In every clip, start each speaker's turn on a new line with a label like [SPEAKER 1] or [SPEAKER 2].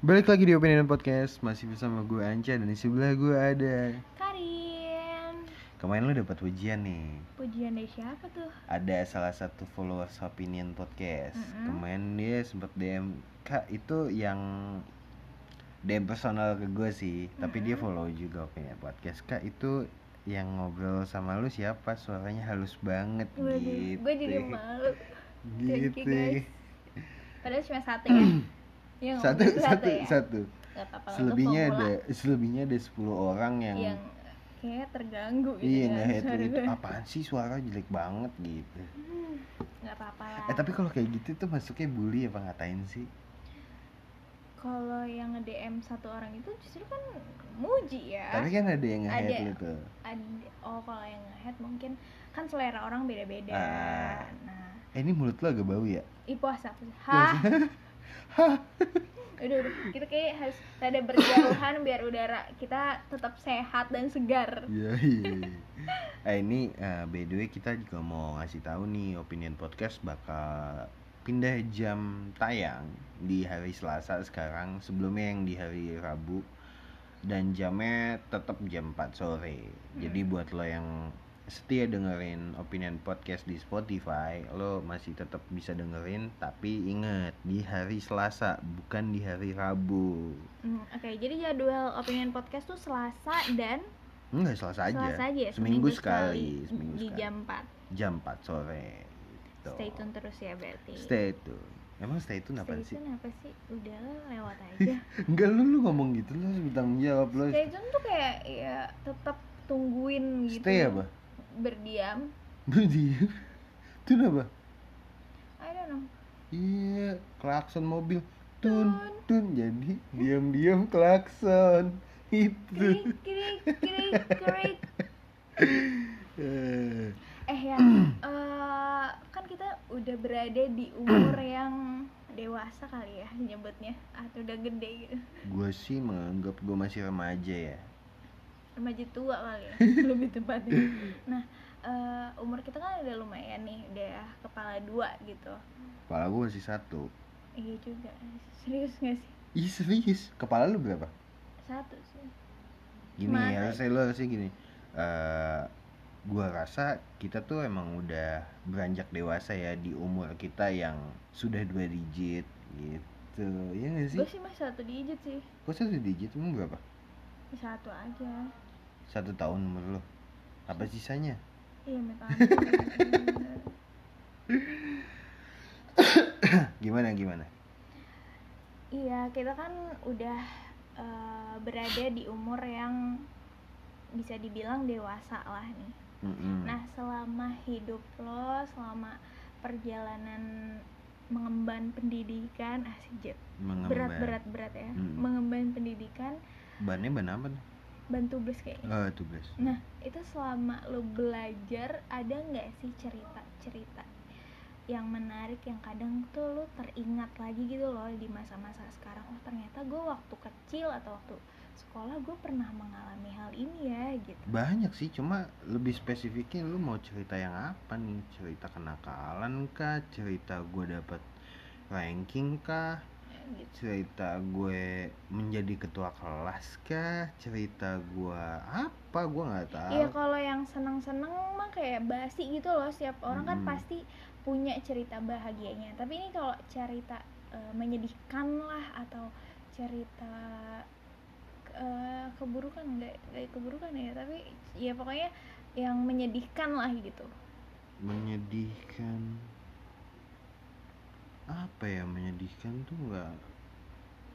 [SPEAKER 1] Balik lagi di Opinion Podcast Masih bersama gue Anca Dan di sebelah gue ada
[SPEAKER 2] Karin
[SPEAKER 1] Kemarin lu dapat ujian nih
[SPEAKER 2] Pujian dari siapa tuh?
[SPEAKER 1] Ada salah satu followers Opinion Podcast
[SPEAKER 2] Mm-mm.
[SPEAKER 1] Kemarin dia sempet DM Kak itu yang DM personal ke gue sih Tapi dia
[SPEAKER 2] Mm-mm.
[SPEAKER 1] follow juga Opinion Podcast Kak itu yang ngobrol sama lu siapa suaranya halus banget
[SPEAKER 2] Waduh,
[SPEAKER 1] gitu
[SPEAKER 2] gue jadi malu Thank you,
[SPEAKER 1] gitu
[SPEAKER 2] guys. Padahal cuma satu ya? Iya nggak
[SPEAKER 1] satu
[SPEAKER 2] mungkin
[SPEAKER 1] satu
[SPEAKER 2] ya?
[SPEAKER 1] satu
[SPEAKER 2] Nggak apa-apa, lah, itu
[SPEAKER 1] selebihnya
[SPEAKER 2] pemula
[SPEAKER 1] ada selebihnya ada 10 orang
[SPEAKER 2] Yang kayak terganggu gitu
[SPEAKER 1] Iya
[SPEAKER 2] kan,
[SPEAKER 1] nah itu,
[SPEAKER 2] suara
[SPEAKER 1] itu
[SPEAKER 2] gue.
[SPEAKER 1] apaan sih suara jelek banget gitu.
[SPEAKER 2] Hmm, nggak apa-apa lah
[SPEAKER 1] Eh tapi kalau kayak gitu tuh masuknya bully apa ngatain sih?
[SPEAKER 2] Kalau yang nge-DM satu orang itu justru kan muji ya
[SPEAKER 1] Tapi kan ada yang nge-head
[SPEAKER 2] Ada.
[SPEAKER 1] lu tuh.
[SPEAKER 2] Ad- Oh kalau yang nge-head mungkin Kan selera orang beda-beda
[SPEAKER 1] Ah.
[SPEAKER 2] Nah,
[SPEAKER 1] Eh ini mulut lu agak bau ya?
[SPEAKER 2] ih puasa puasa. Hah? udah udah kita kayak harus rada berjauhan biar udara kita tetap sehat dan segar
[SPEAKER 1] Iya iya. Eh ini eh, by the way kita juga mau ngasih tahu nih opinion podcast bakal pindah jam tayang di hari Selasa sekarang sebelumnya yang di hari Rabu dan jamnya tetap jam 4 sore.
[SPEAKER 2] Hmm.
[SPEAKER 1] Jadi buat lo yang setia dengerin opinion podcast di Spotify, lo masih tetap bisa dengerin tapi inget di hari Selasa bukan di hari Rabu.
[SPEAKER 2] Hmm, oke jadi jadwal opinion podcast tuh selasa dan
[SPEAKER 1] Enggak Selasa aja.
[SPEAKER 2] selasa aja ya,
[SPEAKER 1] Seminggu sekali, seminggu
[SPEAKER 2] di
[SPEAKER 1] sekali. jam
[SPEAKER 2] jam 4
[SPEAKER 1] 4 sore. Gitu.
[SPEAKER 2] stay tune terus ya berarti
[SPEAKER 1] Stay tune. Emang stay tune apa sih?
[SPEAKER 2] Stay tune apa sih udah lah, lewat aja
[SPEAKER 1] Enggak lu lu ngomong gitu lu harus bertanggung jawab lu.
[SPEAKER 2] stay tune tuh kayak ya tetap tungguin gitu
[SPEAKER 1] Stay apa?
[SPEAKER 2] berdiam
[SPEAKER 1] Berdiam. Tune apa?
[SPEAKER 2] I don't know
[SPEAKER 1] Iya, klakson mobil. Tun tun jadi diam-diam klakson. Itu.
[SPEAKER 2] krik krik krik krik
[SPEAKER 1] Eh,
[SPEAKER 2] eh ya eh, kan kita udah berada di umur yang dewasa kali ya nyebutnya atau udah gede gitu
[SPEAKER 1] gue sih menganggap gue masih remaja ya.
[SPEAKER 2] remaja tua kali ya lebih tepatnya nah eh, umur kita kan udah lumayan nih udah kepala dua gitu
[SPEAKER 1] Kepala gue masih satu.
[SPEAKER 2] iya juga serius gak sih
[SPEAKER 1] Ih serius, kepala lu berapa?
[SPEAKER 2] satu sih
[SPEAKER 1] gini
[SPEAKER 2] Gimana?
[SPEAKER 1] harusnya lo harusnya gini eh gua rasa kita tuh emang udah beranjak dewasa ya di umur kita yang sudah dua digit gitu ya nggak sih
[SPEAKER 2] gue sih masih satu digit sih
[SPEAKER 1] kok satu digit emang berapa
[SPEAKER 2] satu aja
[SPEAKER 1] satu tahun umur lo apa sisanya
[SPEAKER 2] iya metan
[SPEAKER 1] gimana gimana
[SPEAKER 2] iya kita kan udah eh, berada di umur yang bisa dibilang dewasa lah nih
[SPEAKER 1] Mm-mm.
[SPEAKER 2] Nah, selama hidup lo, selama perjalanan mengemban pendidikan, ah, asik
[SPEAKER 1] Mengemban.
[SPEAKER 2] berat-berat berat ya,
[SPEAKER 1] Hmm.
[SPEAKER 2] mengemban pendidikan,
[SPEAKER 1] bannya ban apa nih
[SPEAKER 2] bantu tubles kayaknya.
[SPEAKER 1] Eh, tuh Blas.
[SPEAKER 2] Nah, itu selama lo belajar ada nggak sih cerita-cerita yang menarik yang kadang tuh lo teringat lagi gitu loh di masa-masa sekarang. Oh ternyata gue waktu kecil atau waktu sekolah gue pernah mengalami hal ini ya gitu.
[SPEAKER 1] banyak sih cuma lebih spesifiknya lu mau cerita yang apa nih cerita kenakalan kah cerita gue dapat ranking kah
[SPEAKER 2] Ya, gitu.
[SPEAKER 1] cerita gue menjadi ketua kelas kah cerita gue apa gue nggak tahu
[SPEAKER 2] Iya kalau yang seneng-seneng mah kayak basi gitu loh setiap orang kan
[SPEAKER 1] Mm-mm.
[SPEAKER 2] pasti punya cerita bahagianya. Tapi ini kalau cerita eh, menyedihkan lah atau cerita eh, keburukan enggak kayak keburukan ya, tapi ya pokoknya yang menyedihkan lah gitu.
[SPEAKER 1] menyedihkan apa ya menyedihkan tuh nggak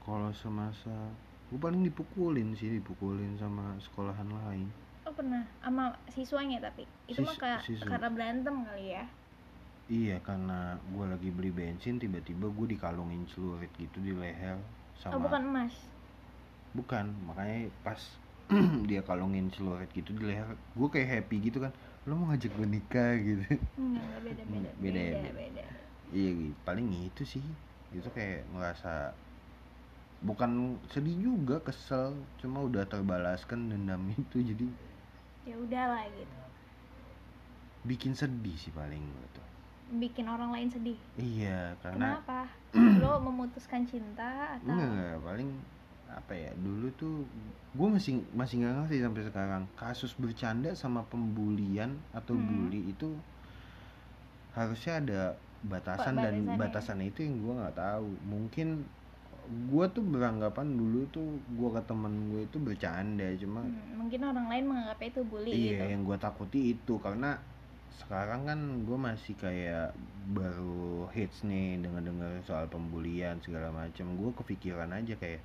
[SPEAKER 1] kalau semasa gue paling dipukulin sih dipukulin sama sekolahan lain
[SPEAKER 2] Oh pernah sama siswanya tapi itu mah
[SPEAKER 1] Sis-
[SPEAKER 2] kayak
[SPEAKER 1] siswa.
[SPEAKER 2] karena berantem kali ya.
[SPEAKER 1] iya karena gue lagi beli bensin tiba-tiba gue dikalungin celurit gitu di leher sama
[SPEAKER 2] Oh bukan emas.
[SPEAKER 1] bukan makanya pas dia kalungin celurit gitu di leher gue kayak happy gitu kan lo mau ngajak gue nikah gitu
[SPEAKER 2] Enggak, enggak beda-beda.
[SPEAKER 1] Hmm, beda ya,
[SPEAKER 2] Beda,
[SPEAKER 1] beda.
[SPEAKER 2] beda.
[SPEAKER 1] iya gitu. paling itu sih itu kayak ngerasa bukan sedih juga kesel cuma udah terbalaskan dendam itu jadi
[SPEAKER 2] Ya udahlah gitu.
[SPEAKER 1] bikin sedih sih paling gue tuh
[SPEAKER 2] bikin orang lain sedih
[SPEAKER 1] iya karena
[SPEAKER 2] kenapa lo memutuskan cinta atau
[SPEAKER 1] enggak, enggak paling apa ya dulu tuh gue masih masih nggak ngerti sampai sekarang kasus bercanda sama pembulian atau
[SPEAKER 2] Hmm.
[SPEAKER 1] bully itu harusnya ada batasan dan
[SPEAKER 2] batasannya. ya?
[SPEAKER 1] batasannya itu yang gue nggak tahu mungkin gue tuh beranggapan dulu tuh gue ke temen gue itu bercanda cuma
[SPEAKER 2] Hmm, mungkin orang lain menganggapnya itu bully
[SPEAKER 1] Iya,
[SPEAKER 2] gitu
[SPEAKER 1] yang gue takuti itu karena sekarang kan gue masih kayak baru hits nih dengar-dengar soal pembulian segala macam. Gue kepikiran aja kayak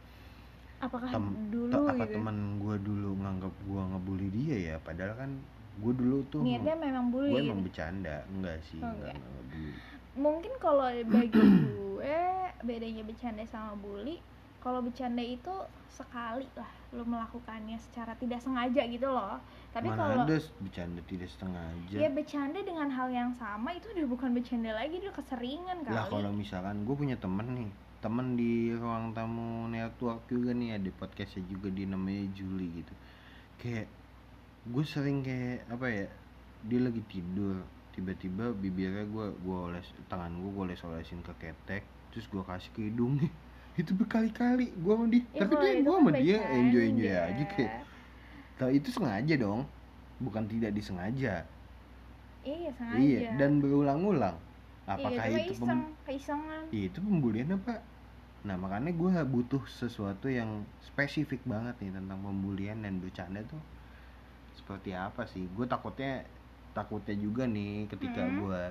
[SPEAKER 2] apakah
[SPEAKER 1] Tem-
[SPEAKER 2] dulu
[SPEAKER 1] "Tuh, apa
[SPEAKER 2] gitu
[SPEAKER 1] teman gue dulu nganggap gue ngebully dia ya, padahal kan gue dulu tuh
[SPEAKER 2] niatnya memang bully
[SPEAKER 1] gue
[SPEAKER 2] gitu.
[SPEAKER 1] emang bercanda, enggak sih,
[SPEAKER 2] Oh,
[SPEAKER 1] enggak,
[SPEAKER 2] enggak.
[SPEAKER 1] enggak ngebully.
[SPEAKER 2] mungkin kalau bagi gue bedanya bercanda sama bully kalau bercanda itu sekali lah lo melakukannya secara tidak sengaja gitu loh tapi
[SPEAKER 1] Mana
[SPEAKER 2] kalau
[SPEAKER 1] ada bercanda tidak setengah aja.
[SPEAKER 2] ya bercanda dengan hal yang sama itu udah bukan bercanda lagi udah keseringan kali
[SPEAKER 1] Lah kalau misalkan gue punya temen nih temen di ruang tamu network juga nih ada podcastnya juga di namanya Juli gitu kayak gue sering kayak apa ya dia lagi tidur tiba-tiba bibirnya gue gue oles tangan gue gue oles olesin ke ketek terus gue kasih ke hidungnya itu berkali-kali gue sama dia
[SPEAKER 2] Ya,
[SPEAKER 1] tapi
[SPEAKER 2] kalau
[SPEAKER 1] dia
[SPEAKER 2] itu
[SPEAKER 1] gue
[SPEAKER 2] kan
[SPEAKER 1] sama dia
[SPEAKER 2] bercanda.
[SPEAKER 1] enjoy enjoy aja kayak "Tau, itu sengaja dong bukan tidak disengaja
[SPEAKER 2] iya sengaja
[SPEAKER 1] iya dan berulang-ulang apakah
[SPEAKER 2] iya,
[SPEAKER 1] itu
[SPEAKER 2] cuma
[SPEAKER 1] pem-
[SPEAKER 2] iseng keisengan
[SPEAKER 1] Ya, itu pembulian apa? Nah makanya gue butuh sesuatu yang spesifik banget nih tentang pembulian dan bercanda tuh seperti apa sih? Gue takutnya takutnya juga nih ketika
[SPEAKER 2] Hmm.
[SPEAKER 1] gue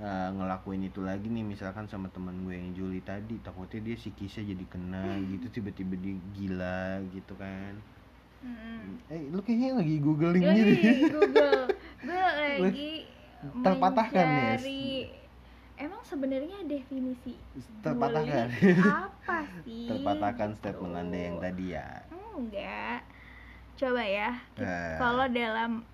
[SPEAKER 1] ngelakuin itu lagi nih misalkan sama teman gue yang Juli tadi takutnya dia psikisnya jadi kena gitu tiba-tiba dia gila gitu kan
[SPEAKER 2] Mm-mm.
[SPEAKER 1] eh lu kayaknya lagi googling
[SPEAKER 2] Yoi,
[SPEAKER 1] gitu ya?
[SPEAKER 2] Google gue lagi
[SPEAKER 1] terpatahkan ya?
[SPEAKER 2] mencari- Emang sebenarnya definisi
[SPEAKER 1] terpatahkan
[SPEAKER 2] bully apa sih?
[SPEAKER 1] terpatahkan statement
[SPEAKER 2] Aduh.
[SPEAKER 1] anda yang tadi ya
[SPEAKER 2] Enggak. Coba ya.
[SPEAKER 1] Eh,
[SPEAKER 2] Kalau dalam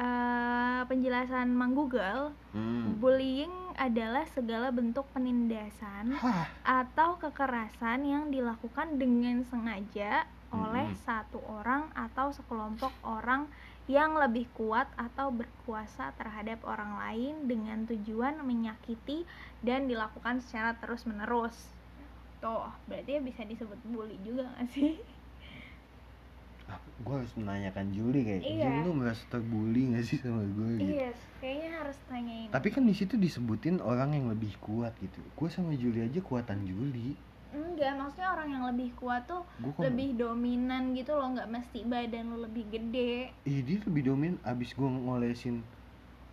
[SPEAKER 2] eh, penjelasan Mang Google,
[SPEAKER 1] hmm.
[SPEAKER 2] bullying adalah segala bentuk penindasan
[SPEAKER 1] Hah,
[SPEAKER 2] atau kekerasan yang dilakukan dengan sengaja oleh
[SPEAKER 1] Mm-mm.
[SPEAKER 2] satu orang atau sekelompok orang yang lebih kuat atau berkuasa terhadap orang lain dengan tujuan menyakiti dan dilakukan secara terus-menerus. Tuh, berarti bisa disebut bully juga gak sih?
[SPEAKER 1] gue harus menanyakan Juli kayak
[SPEAKER 2] Iya.
[SPEAKER 1] Juli lu merasa terbully gak sih sama gue gitu
[SPEAKER 2] Iya, kayaknya harus tanyain.
[SPEAKER 1] tapi kan di situ disebutin orang yang lebih kuat gitu gue sama Juli aja kuatan Juli
[SPEAKER 2] Enggak, maksudnya orang yang lebih kuat tuh
[SPEAKER 1] gue kok
[SPEAKER 2] lebih dominan gitu loh, nggak mesti badan lo lebih gede.
[SPEAKER 1] Ih, dia lebih dominan abis gue ngolesin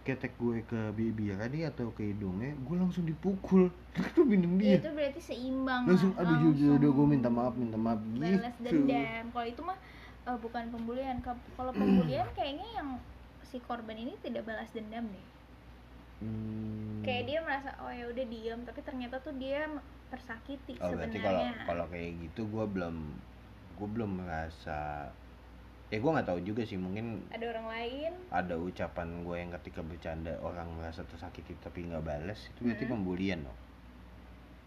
[SPEAKER 1] ketek gue ke bibirnya dia atau ke hidungnya gue langsung dipukul itu bindeng dia
[SPEAKER 2] Itu berarti seimbang. lah,
[SPEAKER 1] langsung aduh Juli
[SPEAKER 2] langsung.
[SPEAKER 1] udah gue minta maaf minta maaf gitu
[SPEAKER 2] balas dendam kalau itu mah eh, bukan pembulian Ke- kalau pembulian kayaknya yang si korban ini tidak balas dendam deh
[SPEAKER 1] Hmm.
[SPEAKER 2] kayak dia merasa oh ya udah diam tapi ternyata tuh dia m- tersakiti
[SPEAKER 1] Oh, berarti kalau
[SPEAKER 2] sebenarnya
[SPEAKER 1] kalau kayak gitu gue belum gue belum merasa ya gue nggak tahu juga sih mungkin
[SPEAKER 2] ada orang lain
[SPEAKER 1] ada ucapan gue yang ketika bercanda orang merasa tersakiti tapi nggak balas itu berarti
[SPEAKER 2] Hmm.
[SPEAKER 1] pembulian dong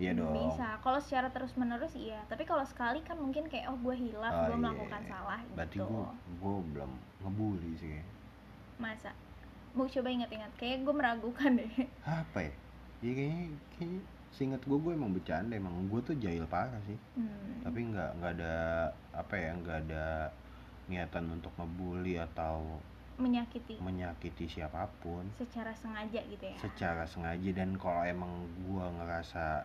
[SPEAKER 1] iya dong
[SPEAKER 2] bisa gitu. kalau secara terus menerus iya tapi kalau sekali kan mungkin kayak oh gue hilaf
[SPEAKER 1] Oh,
[SPEAKER 2] gue
[SPEAKER 1] iya,
[SPEAKER 2] melakukan
[SPEAKER 1] iya.
[SPEAKER 2] salah
[SPEAKER 1] berarti
[SPEAKER 2] gitu
[SPEAKER 1] gue gue belum ngebully sih
[SPEAKER 2] masa mau coba ingat-ingat kayak gue meragukan deh
[SPEAKER 1] apa ya ya kayaknya, kayaknya seingat gue gue emang bercanda emang gue tuh jahil parah sih
[SPEAKER 2] Hmm.
[SPEAKER 1] tapi nggak nggak ada apa ya nggak ada niatan untuk ngebully atau
[SPEAKER 2] menyakiti
[SPEAKER 1] menyakiti siapapun
[SPEAKER 2] secara sengaja gitu ya
[SPEAKER 1] secara sengaja dan kalau emang gua ngerasa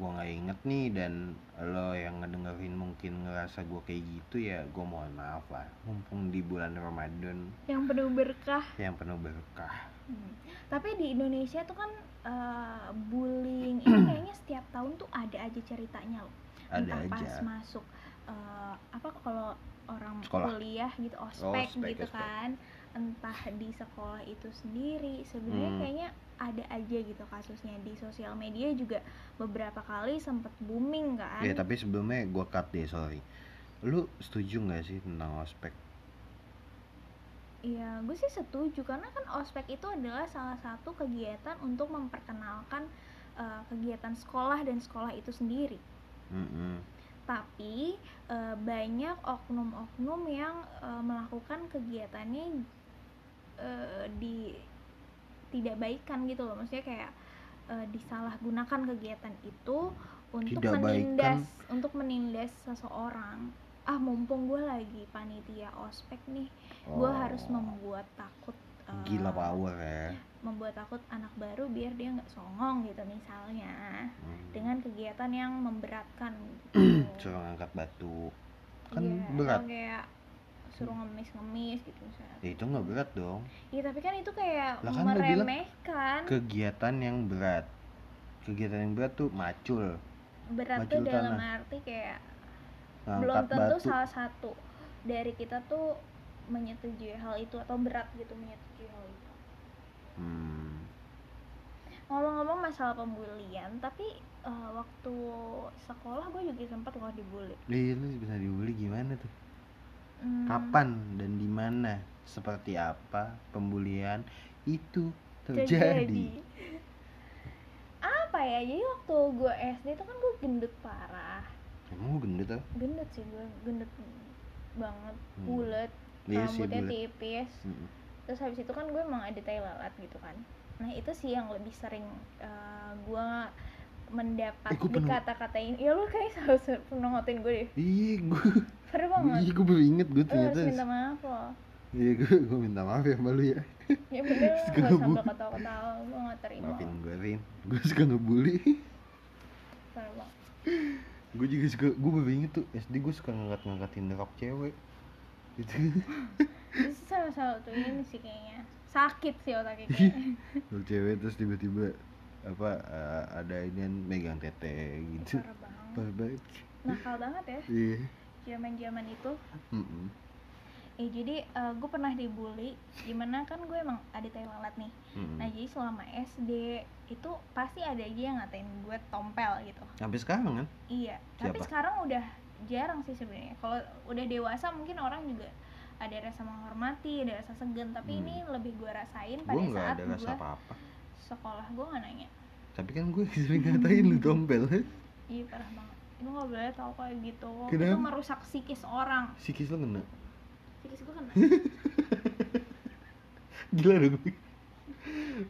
[SPEAKER 1] gua nggak inget nih dan lo yang ngedengerin mungkin ngerasa gua kayak gitu ya gua mohon maaf lah mumpung di bulan Ramadan
[SPEAKER 2] yang penuh berkah
[SPEAKER 1] yang penuh berkah
[SPEAKER 2] Hmm. Tapi di Indonesia tuh kan eh, bullying ini kayaknya setiap tahun tuh ada aja ceritanya loh.
[SPEAKER 1] ada
[SPEAKER 2] Entah
[SPEAKER 1] aja
[SPEAKER 2] pas masuk eh, apa kalau orang
[SPEAKER 1] Sekolah. Oh,
[SPEAKER 2] kuliah gitu ospek
[SPEAKER 1] ospek,
[SPEAKER 2] gitu
[SPEAKER 1] ospek.
[SPEAKER 2] kan. Entah di sekolah itu sendiri sebenarnya
[SPEAKER 1] Hmm.
[SPEAKER 2] kayaknya ada aja gitu kasusnya di sosial media juga beberapa kali sempet booming kan.
[SPEAKER 1] ya tapi sebelumnya gua cut deh sorry lu setuju nggak sih tentang ospek
[SPEAKER 2] Iya, gue sih setuju karena kan ospek itu adalah salah satu kegiatan untuk memperkenalkan eh, kegiatan sekolah dan sekolah itu sendiri.
[SPEAKER 1] Mm-mm.
[SPEAKER 2] tapi eh, banyak oknum-oknum yang eh, melakukan kegiatannya eh, di ketidakbaikan gitu loh maksudnya kayak eh, disalahgunakan kegiatan itu untuk
[SPEAKER 1] Tidak baikan.
[SPEAKER 2] menindas untuk menindas seseorang ah mumpung gue lagi panitia ospek nih gue harus Iya. membuat takut eh,
[SPEAKER 1] Oh. gila power ya
[SPEAKER 2] membuat takut anak baru biar dia nggak songong gitu misalnya
[SPEAKER 1] Hmm.
[SPEAKER 2] dengan kegiatan yang memberatkan gitu.
[SPEAKER 1] suruh ngangkat batu kan
[SPEAKER 2] Iya, atau
[SPEAKER 1] berat. Hmm.
[SPEAKER 2] kayak suruh ngemis-ngemis gitu misalnya
[SPEAKER 1] ya itu nggak berat dong
[SPEAKER 2] iya tapi kan itu kayak
[SPEAKER 1] Lah kan lu bilang
[SPEAKER 2] meremehkan
[SPEAKER 1] kegiatan yang berat kegiatan yang berat tuh macul
[SPEAKER 2] berat
[SPEAKER 1] baju
[SPEAKER 2] tuh dalam
[SPEAKER 1] tanah.
[SPEAKER 2] arti kayak belum
[SPEAKER 1] ngangkat
[SPEAKER 2] tentu
[SPEAKER 1] batu
[SPEAKER 2] salah satu dari kita tuh menyetujui hal itu atau berat gitu menyetujui hal itu
[SPEAKER 1] Hmm.
[SPEAKER 2] ngomong-ngomong masalah pembulian tapi eh, waktu sekolah gue juga sempat loh dibully
[SPEAKER 1] Ih, Eh, lu bisa dibully gimana tuh
[SPEAKER 2] Hmm,
[SPEAKER 1] kapan dan di mana seperti apa pembulian itu terjadi
[SPEAKER 2] apa ya jadi waktu gue SD itu kan gue gendut parah
[SPEAKER 1] emang lu gendut tuh
[SPEAKER 2] gendut sih gue gendut banget bulat
[SPEAKER 1] Hmm. iya sih Hmm.
[SPEAKER 2] rambutnya
[SPEAKER 1] bulat
[SPEAKER 2] tipis
[SPEAKER 1] Mm-mm.
[SPEAKER 2] terus habis itu kan gue emang ada tai lalat gitu kan nah itu sih yang lebih sering eh, gue mendapat
[SPEAKER 1] Eh, gue pernah-
[SPEAKER 2] dikata-katain ya lu kayak selalu selalu pernah ngotain gue deh
[SPEAKER 1] Ih, gue
[SPEAKER 2] seru banget
[SPEAKER 1] iya, gue baru inget gue
[SPEAKER 2] lu harus
[SPEAKER 1] ternyata.
[SPEAKER 2] Eh, minta maaf loh
[SPEAKER 1] Iya, gue gue minta maaf ya sama lu ya.
[SPEAKER 2] ya bener
[SPEAKER 1] Terus
[SPEAKER 2] gue
[SPEAKER 1] gue
[SPEAKER 2] sambil
[SPEAKER 1] ngebully.
[SPEAKER 2] ketawa-ketawa gue nggak terima
[SPEAKER 1] Maafin gue, Rin. Gue suka ngebully.
[SPEAKER 2] Seru banget.
[SPEAKER 1] gue juga suka, gue baru inget tuh SD gue suka ngangkat-ngangkatin rok cewek. Itu
[SPEAKER 2] itu salah satu ini sih kayaknya sakit sih
[SPEAKER 1] Iya,
[SPEAKER 2] otaknya kayaknya.
[SPEAKER 1] rok cewek terus tiba-tiba apa eh, ada ini yang megang tete gitu.
[SPEAKER 2] parah banget
[SPEAKER 1] Parah banget.
[SPEAKER 2] nakal banget ya
[SPEAKER 1] Iya.
[SPEAKER 2] zaman-zaman itu
[SPEAKER 1] Mm-mm.
[SPEAKER 2] Eh jadi gue pernah dibully, gimana kan gue emang ada tai lalat nih.
[SPEAKER 1] Mm-mm.
[SPEAKER 2] Nah jadi selama SD itu pasti ada aja yang ngatain gue tompel gitu.
[SPEAKER 1] Sampai sekarang kan?
[SPEAKER 2] Iya. Tapi
[SPEAKER 1] Siapa?
[SPEAKER 2] sekarang udah jarang sih sebenarnya. Kalau udah dewasa mungkin orang juga ada rasa menghormati, ada rasa segan. Tapi
[SPEAKER 1] Hmm.
[SPEAKER 2] ini lebih gue rasain pada
[SPEAKER 1] Gue nggak
[SPEAKER 2] saat
[SPEAKER 1] ada rasa
[SPEAKER 2] gue
[SPEAKER 1] apa-apa.
[SPEAKER 2] sekolah gue nggak nanya.
[SPEAKER 1] Tapi kan gue sering ngatain lu tompel.
[SPEAKER 2] Iya parah banget. Lu nggak boleh tahu kayak gitu. Itu
[SPEAKER 1] Kenapa?
[SPEAKER 2] merusak psikis orang.
[SPEAKER 1] Sikis lu kena.
[SPEAKER 2] Psikis gue kena.
[SPEAKER 1] Gila dong gue.
[SPEAKER 2] Eh,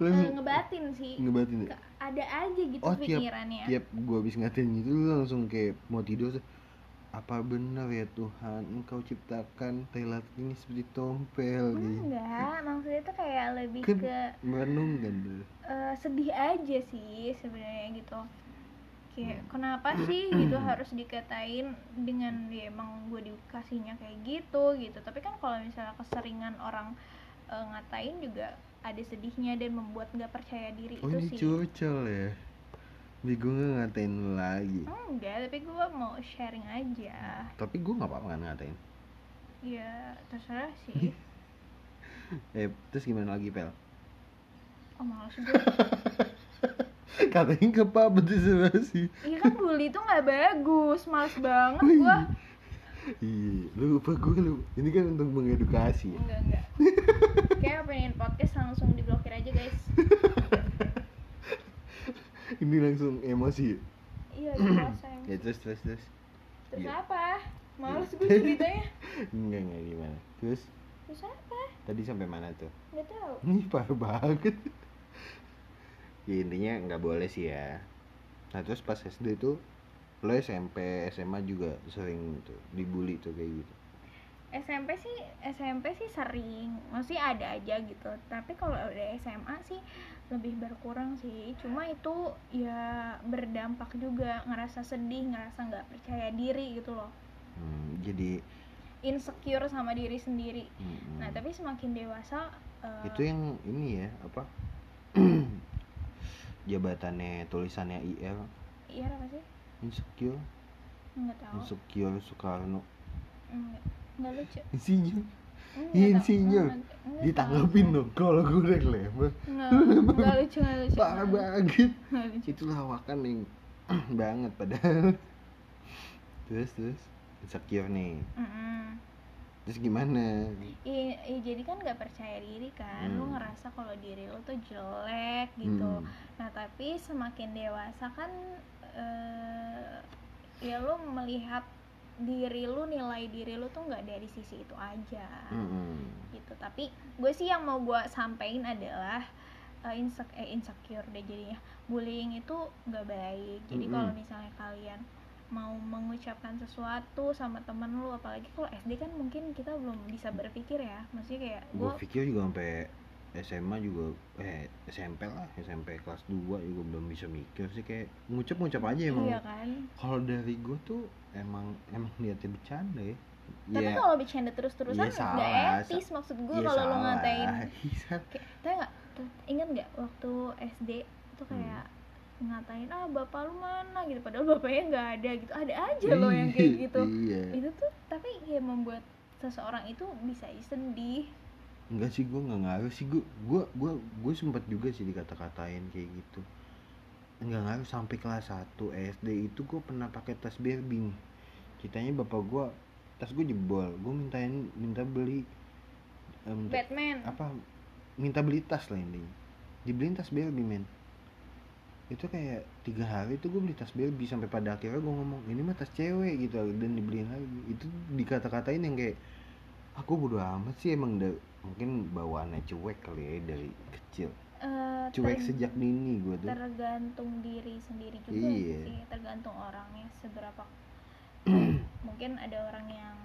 [SPEAKER 1] Langsung
[SPEAKER 2] ngebatin sih.
[SPEAKER 1] ngebatin ya?
[SPEAKER 2] Ke- ada aja gitu
[SPEAKER 1] Oh, tiap-
[SPEAKER 2] pikirannya.
[SPEAKER 1] tiap gua habis ngatain gitu lu langsung kayak mau tidur tuh apa benar ya Tuhan engkau ciptakan telat ini seperti tompel Kan gitu
[SPEAKER 2] Enggak, maksudnya tuh kayak lebih
[SPEAKER 1] Ke-
[SPEAKER 2] ke
[SPEAKER 1] merenung kan tuh
[SPEAKER 2] eh, sedih aja sih sebenarnya gitu. Kayak
[SPEAKER 1] Hmm.
[SPEAKER 2] kenapa sih gitu harus dikatain dengan ya, emang gue dikasihnya kayak gitu gitu. Tapi kan kalau misalnya keseringan orang eh, ngatain juga ada sedihnya dan membuat nggak percaya diri
[SPEAKER 1] oh
[SPEAKER 2] itu
[SPEAKER 1] ini
[SPEAKER 2] sih.
[SPEAKER 1] curcol ya Jadi gua nggak ngatain lu lagi
[SPEAKER 2] Enggak, tapi gue mau sharing aja.
[SPEAKER 1] tapi gua nggak apa-apa kan ngatain
[SPEAKER 2] Ya terserah sih.
[SPEAKER 1] eh terus gimana lagi pel
[SPEAKER 2] Oh males gue.
[SPEAKER 1] katanya ke apa betul sih
[SPEAKER 2] Iya kan bully tuh nggak bagus, males banget
[SPEAKER 1] Wih.
[SPEAKER 2] gue.
[SPEAKER 1] iya lupa gua lupa ini kan untuk mengedukasi ya
[SPEAKER 2] Enggak, enggak. Kayak pengen podcast langsung diblokir aja, guys.
[SPEAKER 1] ini langsung emosi ya?
[SPEAKER 2] Iya, udah puasa yang.
[SPEAKER 1] ya terus terus terus
[SPEAKER 2] Terus
[SPEAKER 1] Iya.
[SPEAKER 2] apa? Males
[SPEAKER 1] Iya.
[SPEAKER 2] gue ceritanya.
[SPEAKER 1] enggak enggak gimana terus
[SPEAKER 2] Terus apa?
[SPEAKER 1] tadi sampai mana tuh
[SPEAKER 2] Enggak tahu.
[SPEAKER 1] Ini parah banget. ya intinya nggak boleh sih ya. Nah terus pas SD itu lo SMP SMA juga sering tuh dibully tuh kayak gitu.
[SPEAKER 2] SMP sih SMP sih sering masih ada aja gitu tapi kalau udah SMA sih lebih berkurang sih cuma itu ya berdampak juga ngerasa sedih ngerasa nggak percaya diri gitu loh
[SPEAKER 1] Hmm, jadi
[SPEAKER 2] insecure sama diri sendiri
[SPEAKER 1] mm,
[SPEAKER 2] nah
[SPEAKER 1] mm.
[SPEAKER 2] tapi semakin dewasa eh,
[SPEAKER 1] itu yang ini ya apa jabatannya tulisannya IR
[SPEAKER 2] iya apa sih
[SPEAKER 1] insecure
[SPEAKER 2] nggak tahu
[SPEAKER 1] insecure Soekarno
[SPEAKER 2] Enggak, enggak lucu.
[SPEAKER 1] isinya
[SPEAKER 2] Enggak
[SPEAKER 1] Iya,
[SPEAKER 2] tahu.
[SPEAKER 1] insinyur.
[SPEAKER 2] Enggak- enggak
[SPEAKER 1] ditanggapin
[SPEAKER 2] tahu.
[SPEAKER 1] dong kalau gue reklamasi
[SPEAKER 2] Enggak, enggak lucu, enggak lucu.
[SPEAKER 1] parah banget
[SPEAKER 2] Enggak lucu.
[SPEAKER 1] itu lawakan yang banget padahal terus terus insecure nih
[SPEAKER 2] Mm-mm.
[SPEAKER 1] terus gimana
[SPEAKER 2] Iya, iya, jadi kan nggak percaya diri kan, lu
[SPEAKER 1] Hmm.
[SPEAKER 2] ngerasa kalau diri lu tuh jelek gitu.
[SPEAKER 1] Hmm.
[SPEAKER 2] Nah tapi semakin dewasa kan, eh, ya lu melihat diri lu nilai diri lu tuh nggak dari sisi itu aja.
[SPEAKER 1] Mm-mm.
[SPEAKER 2] gitu tapi gue sih yang mau gue sampein adalah eh, insec- eh, insecure deh jadinya bullying itu nggak baik jadi
[SPEAKER 1] Mm-mm.
[SPEAKER 2] kalau misalnya kalian mau mengucapkan sesuatu sama temen lu apalagi kalau SD kan mungkin kita belum bisa berpikir ya maksudnya kayak
[SPEAKER 1] gue
[SPEAKER 2] gue
[SPEAKER 1] pikir juga sampai SMA juga eh SMP lah SMP kelas 2 juga belum bisa mikir sih kayak ngucap ngucap aja emang
[SPEAKER 2] iya kan
[SPEAKER 1] kalau dari gue tuh emang emang niatnya bercanda ya
[SPEAKER 2] tapi
[SPEAKER 1] Iya,
[SPEAKER 2] kalau bercanda terus-terusan
[SPEAKER 1] Iya,
[SPEAKER 2] nggak
[SPEAKER 1] salah.
[SPEAKER 2] etis maksud gue
[SPEAKER 1] iya
[SPEAKER 2] kalau lu
[SPEAKER 1] salah.
[SPEAKER 2] ngatain
[SPEAKER 1] Iya.
[SPEAKER 2] kayak tapi nggak tuh, ingat nggak waktu SD itu
[SPEAKER 1] Hmm.
[SPEAKER 2] kayak ngatain ah bapak lu mana gitu padahal bapaknya nggak ada gitu ada aja loh yang kayak gitu
[SPEAKER 1] iya
[SPEAKER 2] itu tuh tapi ya membuat seseorang itu bisa sedih
[SPEAKER 1] enggak sih gue nggak ngaruh sih gue gue gue gue sempat juga sih dikata-katain kayak gitu nggak ngaruh sampai kelas 1 SD itu gue pernah pakai tas berbing ceritanya bapak gue tas gue jebol gue mintain minta beli eh, minta,
[SPEAKER 2] Batman
[SPEAKER 1] apa minta beli tas lah intinya dibeliin tas Barbie men itu kayak tiga hari itu gue beli tas Barbie sampai pada akhirnya gue ngomong ini mah tas cewek gitu dan dibeliin lagi itu dikata-katain yang kayak aku bodo amat sih emang da- mungkin bawaannya cuek kali ya dari kecil
[SPEAKER 2] eh,
[SPEAKER 1] cuek
[SPEAKER 2] ter-
[SPEAKER 1] sejak dini gue tuh
[SPEAKER 2] tergantung diri sendiri juga
[SPEAKER 1] Iya.
[SPEAKER 2] sih tergantung orangnya seberapa mungkin ada orang yang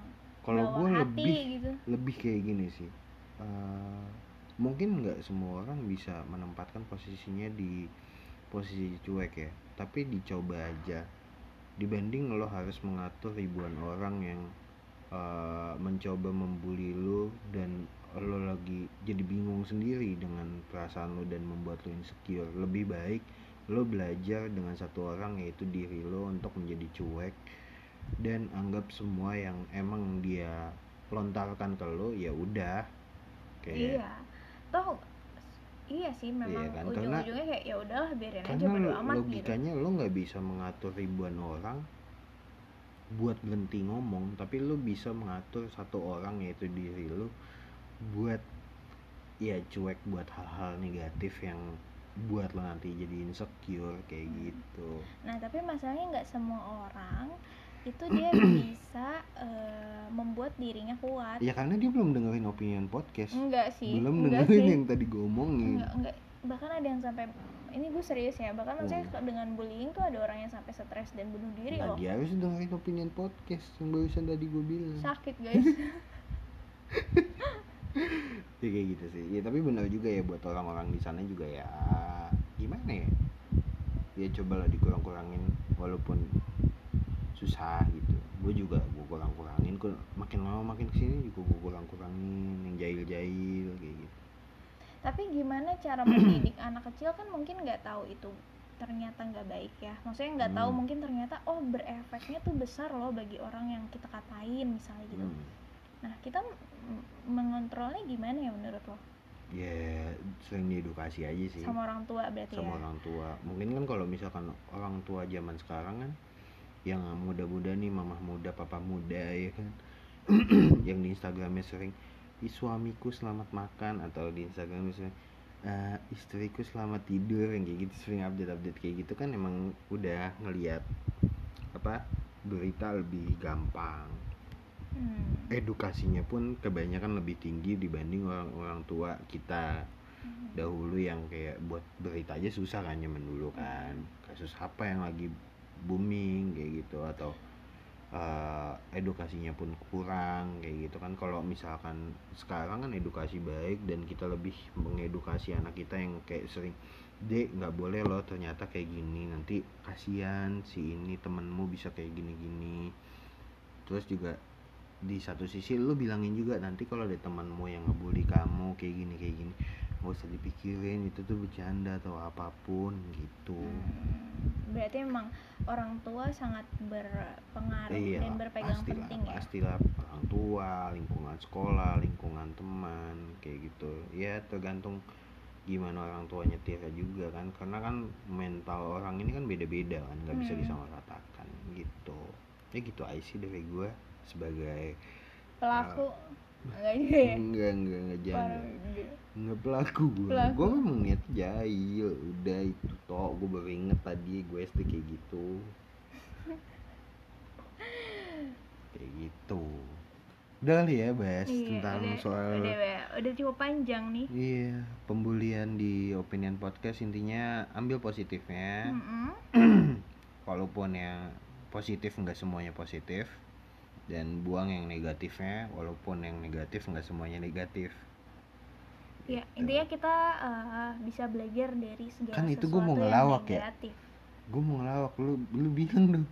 [SPEAKER 1] kalau
[SPEAKER 2] bawa
[SPEAKER 1] gue
[SPEAKER 2] hati
[SPEAKER 1] lebih
[SPEAKER 2] gitu
[SPEAKER 1] lebih kayak gini sih Eh, mungkin nggak semua orang bisa menempatkan posisinya di posisi cuek ya tapi dicoba aja dibanding lo harus mengatur ribuan orang yang eh, mencoba membuli lo dan lo lagi jadi bingung sendiri dengan perasaan lo dan membuat lo insecure lebih baik lo belajar dengan satu orang yaitu diri lo untuk menjadi cuek dan anggap semua yang emang dia lontarkan ke lo ya udah kayak
[SPEAKER 2] iya toh iya sih memang
[SPEAKER 1] Iya kan, karena-
[SPEAKER 2] ujung-ujungnya kayak ya udahlah biarin aja
[SPEAKER 1] karena
[SPEAKER 2] bodo
[SPEAKER 1] lo-
[SPEAKER 2] amat gitu
[SPEAKER 1] logikanya lo nggak bisa mengatur ribuan orang buat berhenti ngomong tapi lo bisa mengatur satu orang yaitu diri lo buat ya cuek buat hal-hal negatif yang buat lo nanti jadi insecure kayak
[SPEAKER 2] Hmm.
[SPEAKER 1] gitu
[SPEAKER 2] nah tapi masalahnya nggak semua orang itu dia bisa eh, membuat dirinya kuat
[SPEAKER 1] ya karena dia belum dengerin opinion podcast
[SPEAKER 2] enggak Hmm, sih
[SPEAKER 1] belum
[SPEAKER 2] enggak
[SPEAKER 1] dengerin
[SPEAKER 2] sih
[SPEAKER 1] yang tadi gue omongin
[SPEAKER 2] enggak enggak bahkan ada yang sampai ini gue serius ya bahkan maksudnya
[SPEAKER 1] Hmm.
[SPEAKER 2] kalau dengan bullying tuh ada orang yang sampai stres dan bunuh diri
[SPEAKER 1] Nah,
[SPEAKER 2] loh
[SPEAKER 1] dia harus dengerin opinion podcast yang barusan tadi gue bilang.
[SPEAKER 2] sakit guys
[SPEAKER 1] Ya, kayak gitu sih. Ya tapi benar juga ya buat orang-orang di sana juga ya gimana ya? Ya cobalah dikurang-kurangin walaupun susah gitu. Gue juga gue kurang-kurangin. Gua- makin lama makin kesini juga gue kurang-kurangin yang jahil-jahil kayak gitu.
[SPEAKER 2] tapi gimana cara
[SPEAKER 1] Hmm.
[SPEAKER 2] mendidik anak kecil kan mungkin nggak tahu itu ternyata nggak baik ya maksudnya nggak tahu
[SPEAKER 1] Hmm.
[SPEAKER 2] mungkin ternyata oh berefeknya tuh besar loh bagi orang yang kita katain misalnya gitu
[SPEAKER 1] Hmm.
[SPEAKER 2] nah kita m- mengontrolnya gimana ya menurut lo
[SPEAKER 1] Ya sering diedukasi aja sih.
[SPEAKER 2] sama orang tua berarti
[SPEAKER 1] sama
[SPEAKER 2] ya
[SPEAKER 1] orang tua mungkin kan kalau misalkan orang tua zaman sekarang kan yang muda-muda nih mamah muda papa muda ya kan yang di instagramnya sering "Ih, suamiku selamat makan atau di instagramnya sering "Eh, istriku selamat tidur yang kayak gitu sering update-update kayak gitu kan emang udah ngelihat apa berita lebih gampang
[SPEAKER 2] Hmm.
[SPEAKER 1] Eh, edukasinya pun kebanyakan lebih tinggi dibanding orang-orang tua kita
[SPEAKER 2] Hmm.
[SPEAKER 1] dahulu yang kayak buat berita aja susah kan nyaman dulu kan kasus apa yang lagi booming kayak gitu atau eh, edukasinya pun kurang kayak gitu kan kalau misalkan sekarang kan edukasi baik dan kita lebih mengedukasi anak kita yang kayak sering dek nggak boleh loh ternyata kayak gini nanti kasihan si ini temenmu bisa kayak gini gini terus juga di satu sisi lu bilangin juga nanti kalau ada temanmu yang ngebully kamu kayak gini kayak gini nggak usah dipikirin itu tuh bercanda atau apapun gitu
[SPEAKER 2] Hmm. berarti emang orang tua sangat berpengaruh
[SPEAKER 1] iya
[SPEAKER 2] dan berpegang
[SPEAKER 1] pastilah
[SPEAKER 2] penting ya
[SPEAKER 1] pastilah orang tua lingkungan sekolah lingkungan teman kayak gitu ya tergantung gimana orang tua nyetirnya juga kan karena kan mental orang ini kan beda-beda kan nggak bisa
[SPEAKER 2] Hmm.
[SPEAKER 1] disamaratakan gitu ya gitu aja sih dari gue sebagai
[SPEAKER 2] pelaku
[SPEAKER 1] Nah.
[SPEAKER 2] enggak juga ya
[SPEAKER 1] enggak enggak enggak jangan
[SPEAKER 2] Parah.
[SPEAKER 1] Nggak pelaku gue
[SPEAKER 2] Pelaku.
[SPEAKER 1] Gue memang niat jahil Udah itu toh Gue baru inget tadi gue SD kayak gitu Kayak gitu udah kali ya bahas
[SPEAKER 2] Iya,
[SPEAKER 1] tentang
[SPEAKER 2] udah,
[SPEAKER 1] soal
[SPEAKER 2] udah, udah cukup panjang nih
[SPEAKER 1] iya pembulian di opinion podcast intinya ambil positifnya
[SPEAKER 2] Mm-mm.
[SPEAKER 1] walaupun yang positif nggak semuanya positif dan buang yang negatifnya walaupun yang negatif nggak semuanya negatif
[SPEAKER 2] ya
[SPEAKER 1] Gitu.
[SPEAKER 2] intinya kita eh, bisa belajar dari segala
[SPEAKER 1] Kan itu
[SPEAKER 2] sesuatu
[SPEAKER 1] gua mau
[SPEAKER 2] yang
[SPEAKER 1] ngelawak ya.
[SPEAKER 2] negatif.
[SPEAKER 1] gue mau ngelawak lu lu bilang dong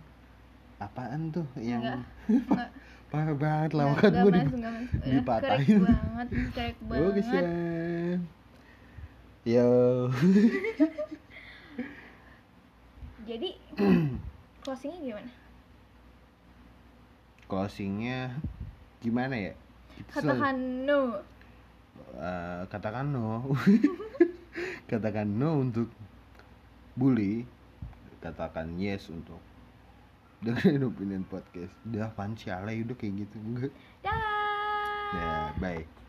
[SPEAKER 1] apaan tuh yang
[SPEAKER 2] Enggak, enggak.
[SPEAKER 1] parah banget
[SPEAKER 2] Nggak-
[SPEAKER 1] lawakan
[SPEAKER 2] nggak
[SPEAKER 1] gue
[SPEAKER 2] masuk, nggak masuk. Eh,
[SPEAKER 1] dipatahin.
[SPEAKER 2] Correct banget correct
[SPEAKER 1] bagus
[SPEAKER 2] banget
[SPEAKER 1] ya yo
[SPEAKER 2] jadi closingnya gimana
[SPEAKER 1] closingnya gimana ya Kita selalu-
[SPEAKER 2] katakan no
[SPEAKER 1] eh, katakan no katakan no untuk bully katakan yes untuk dengerin opinion podcast udah apaan sih alay udah kayak gitu enggak
[SPEAKER 2] dah
[SPEAKER 1] ya baik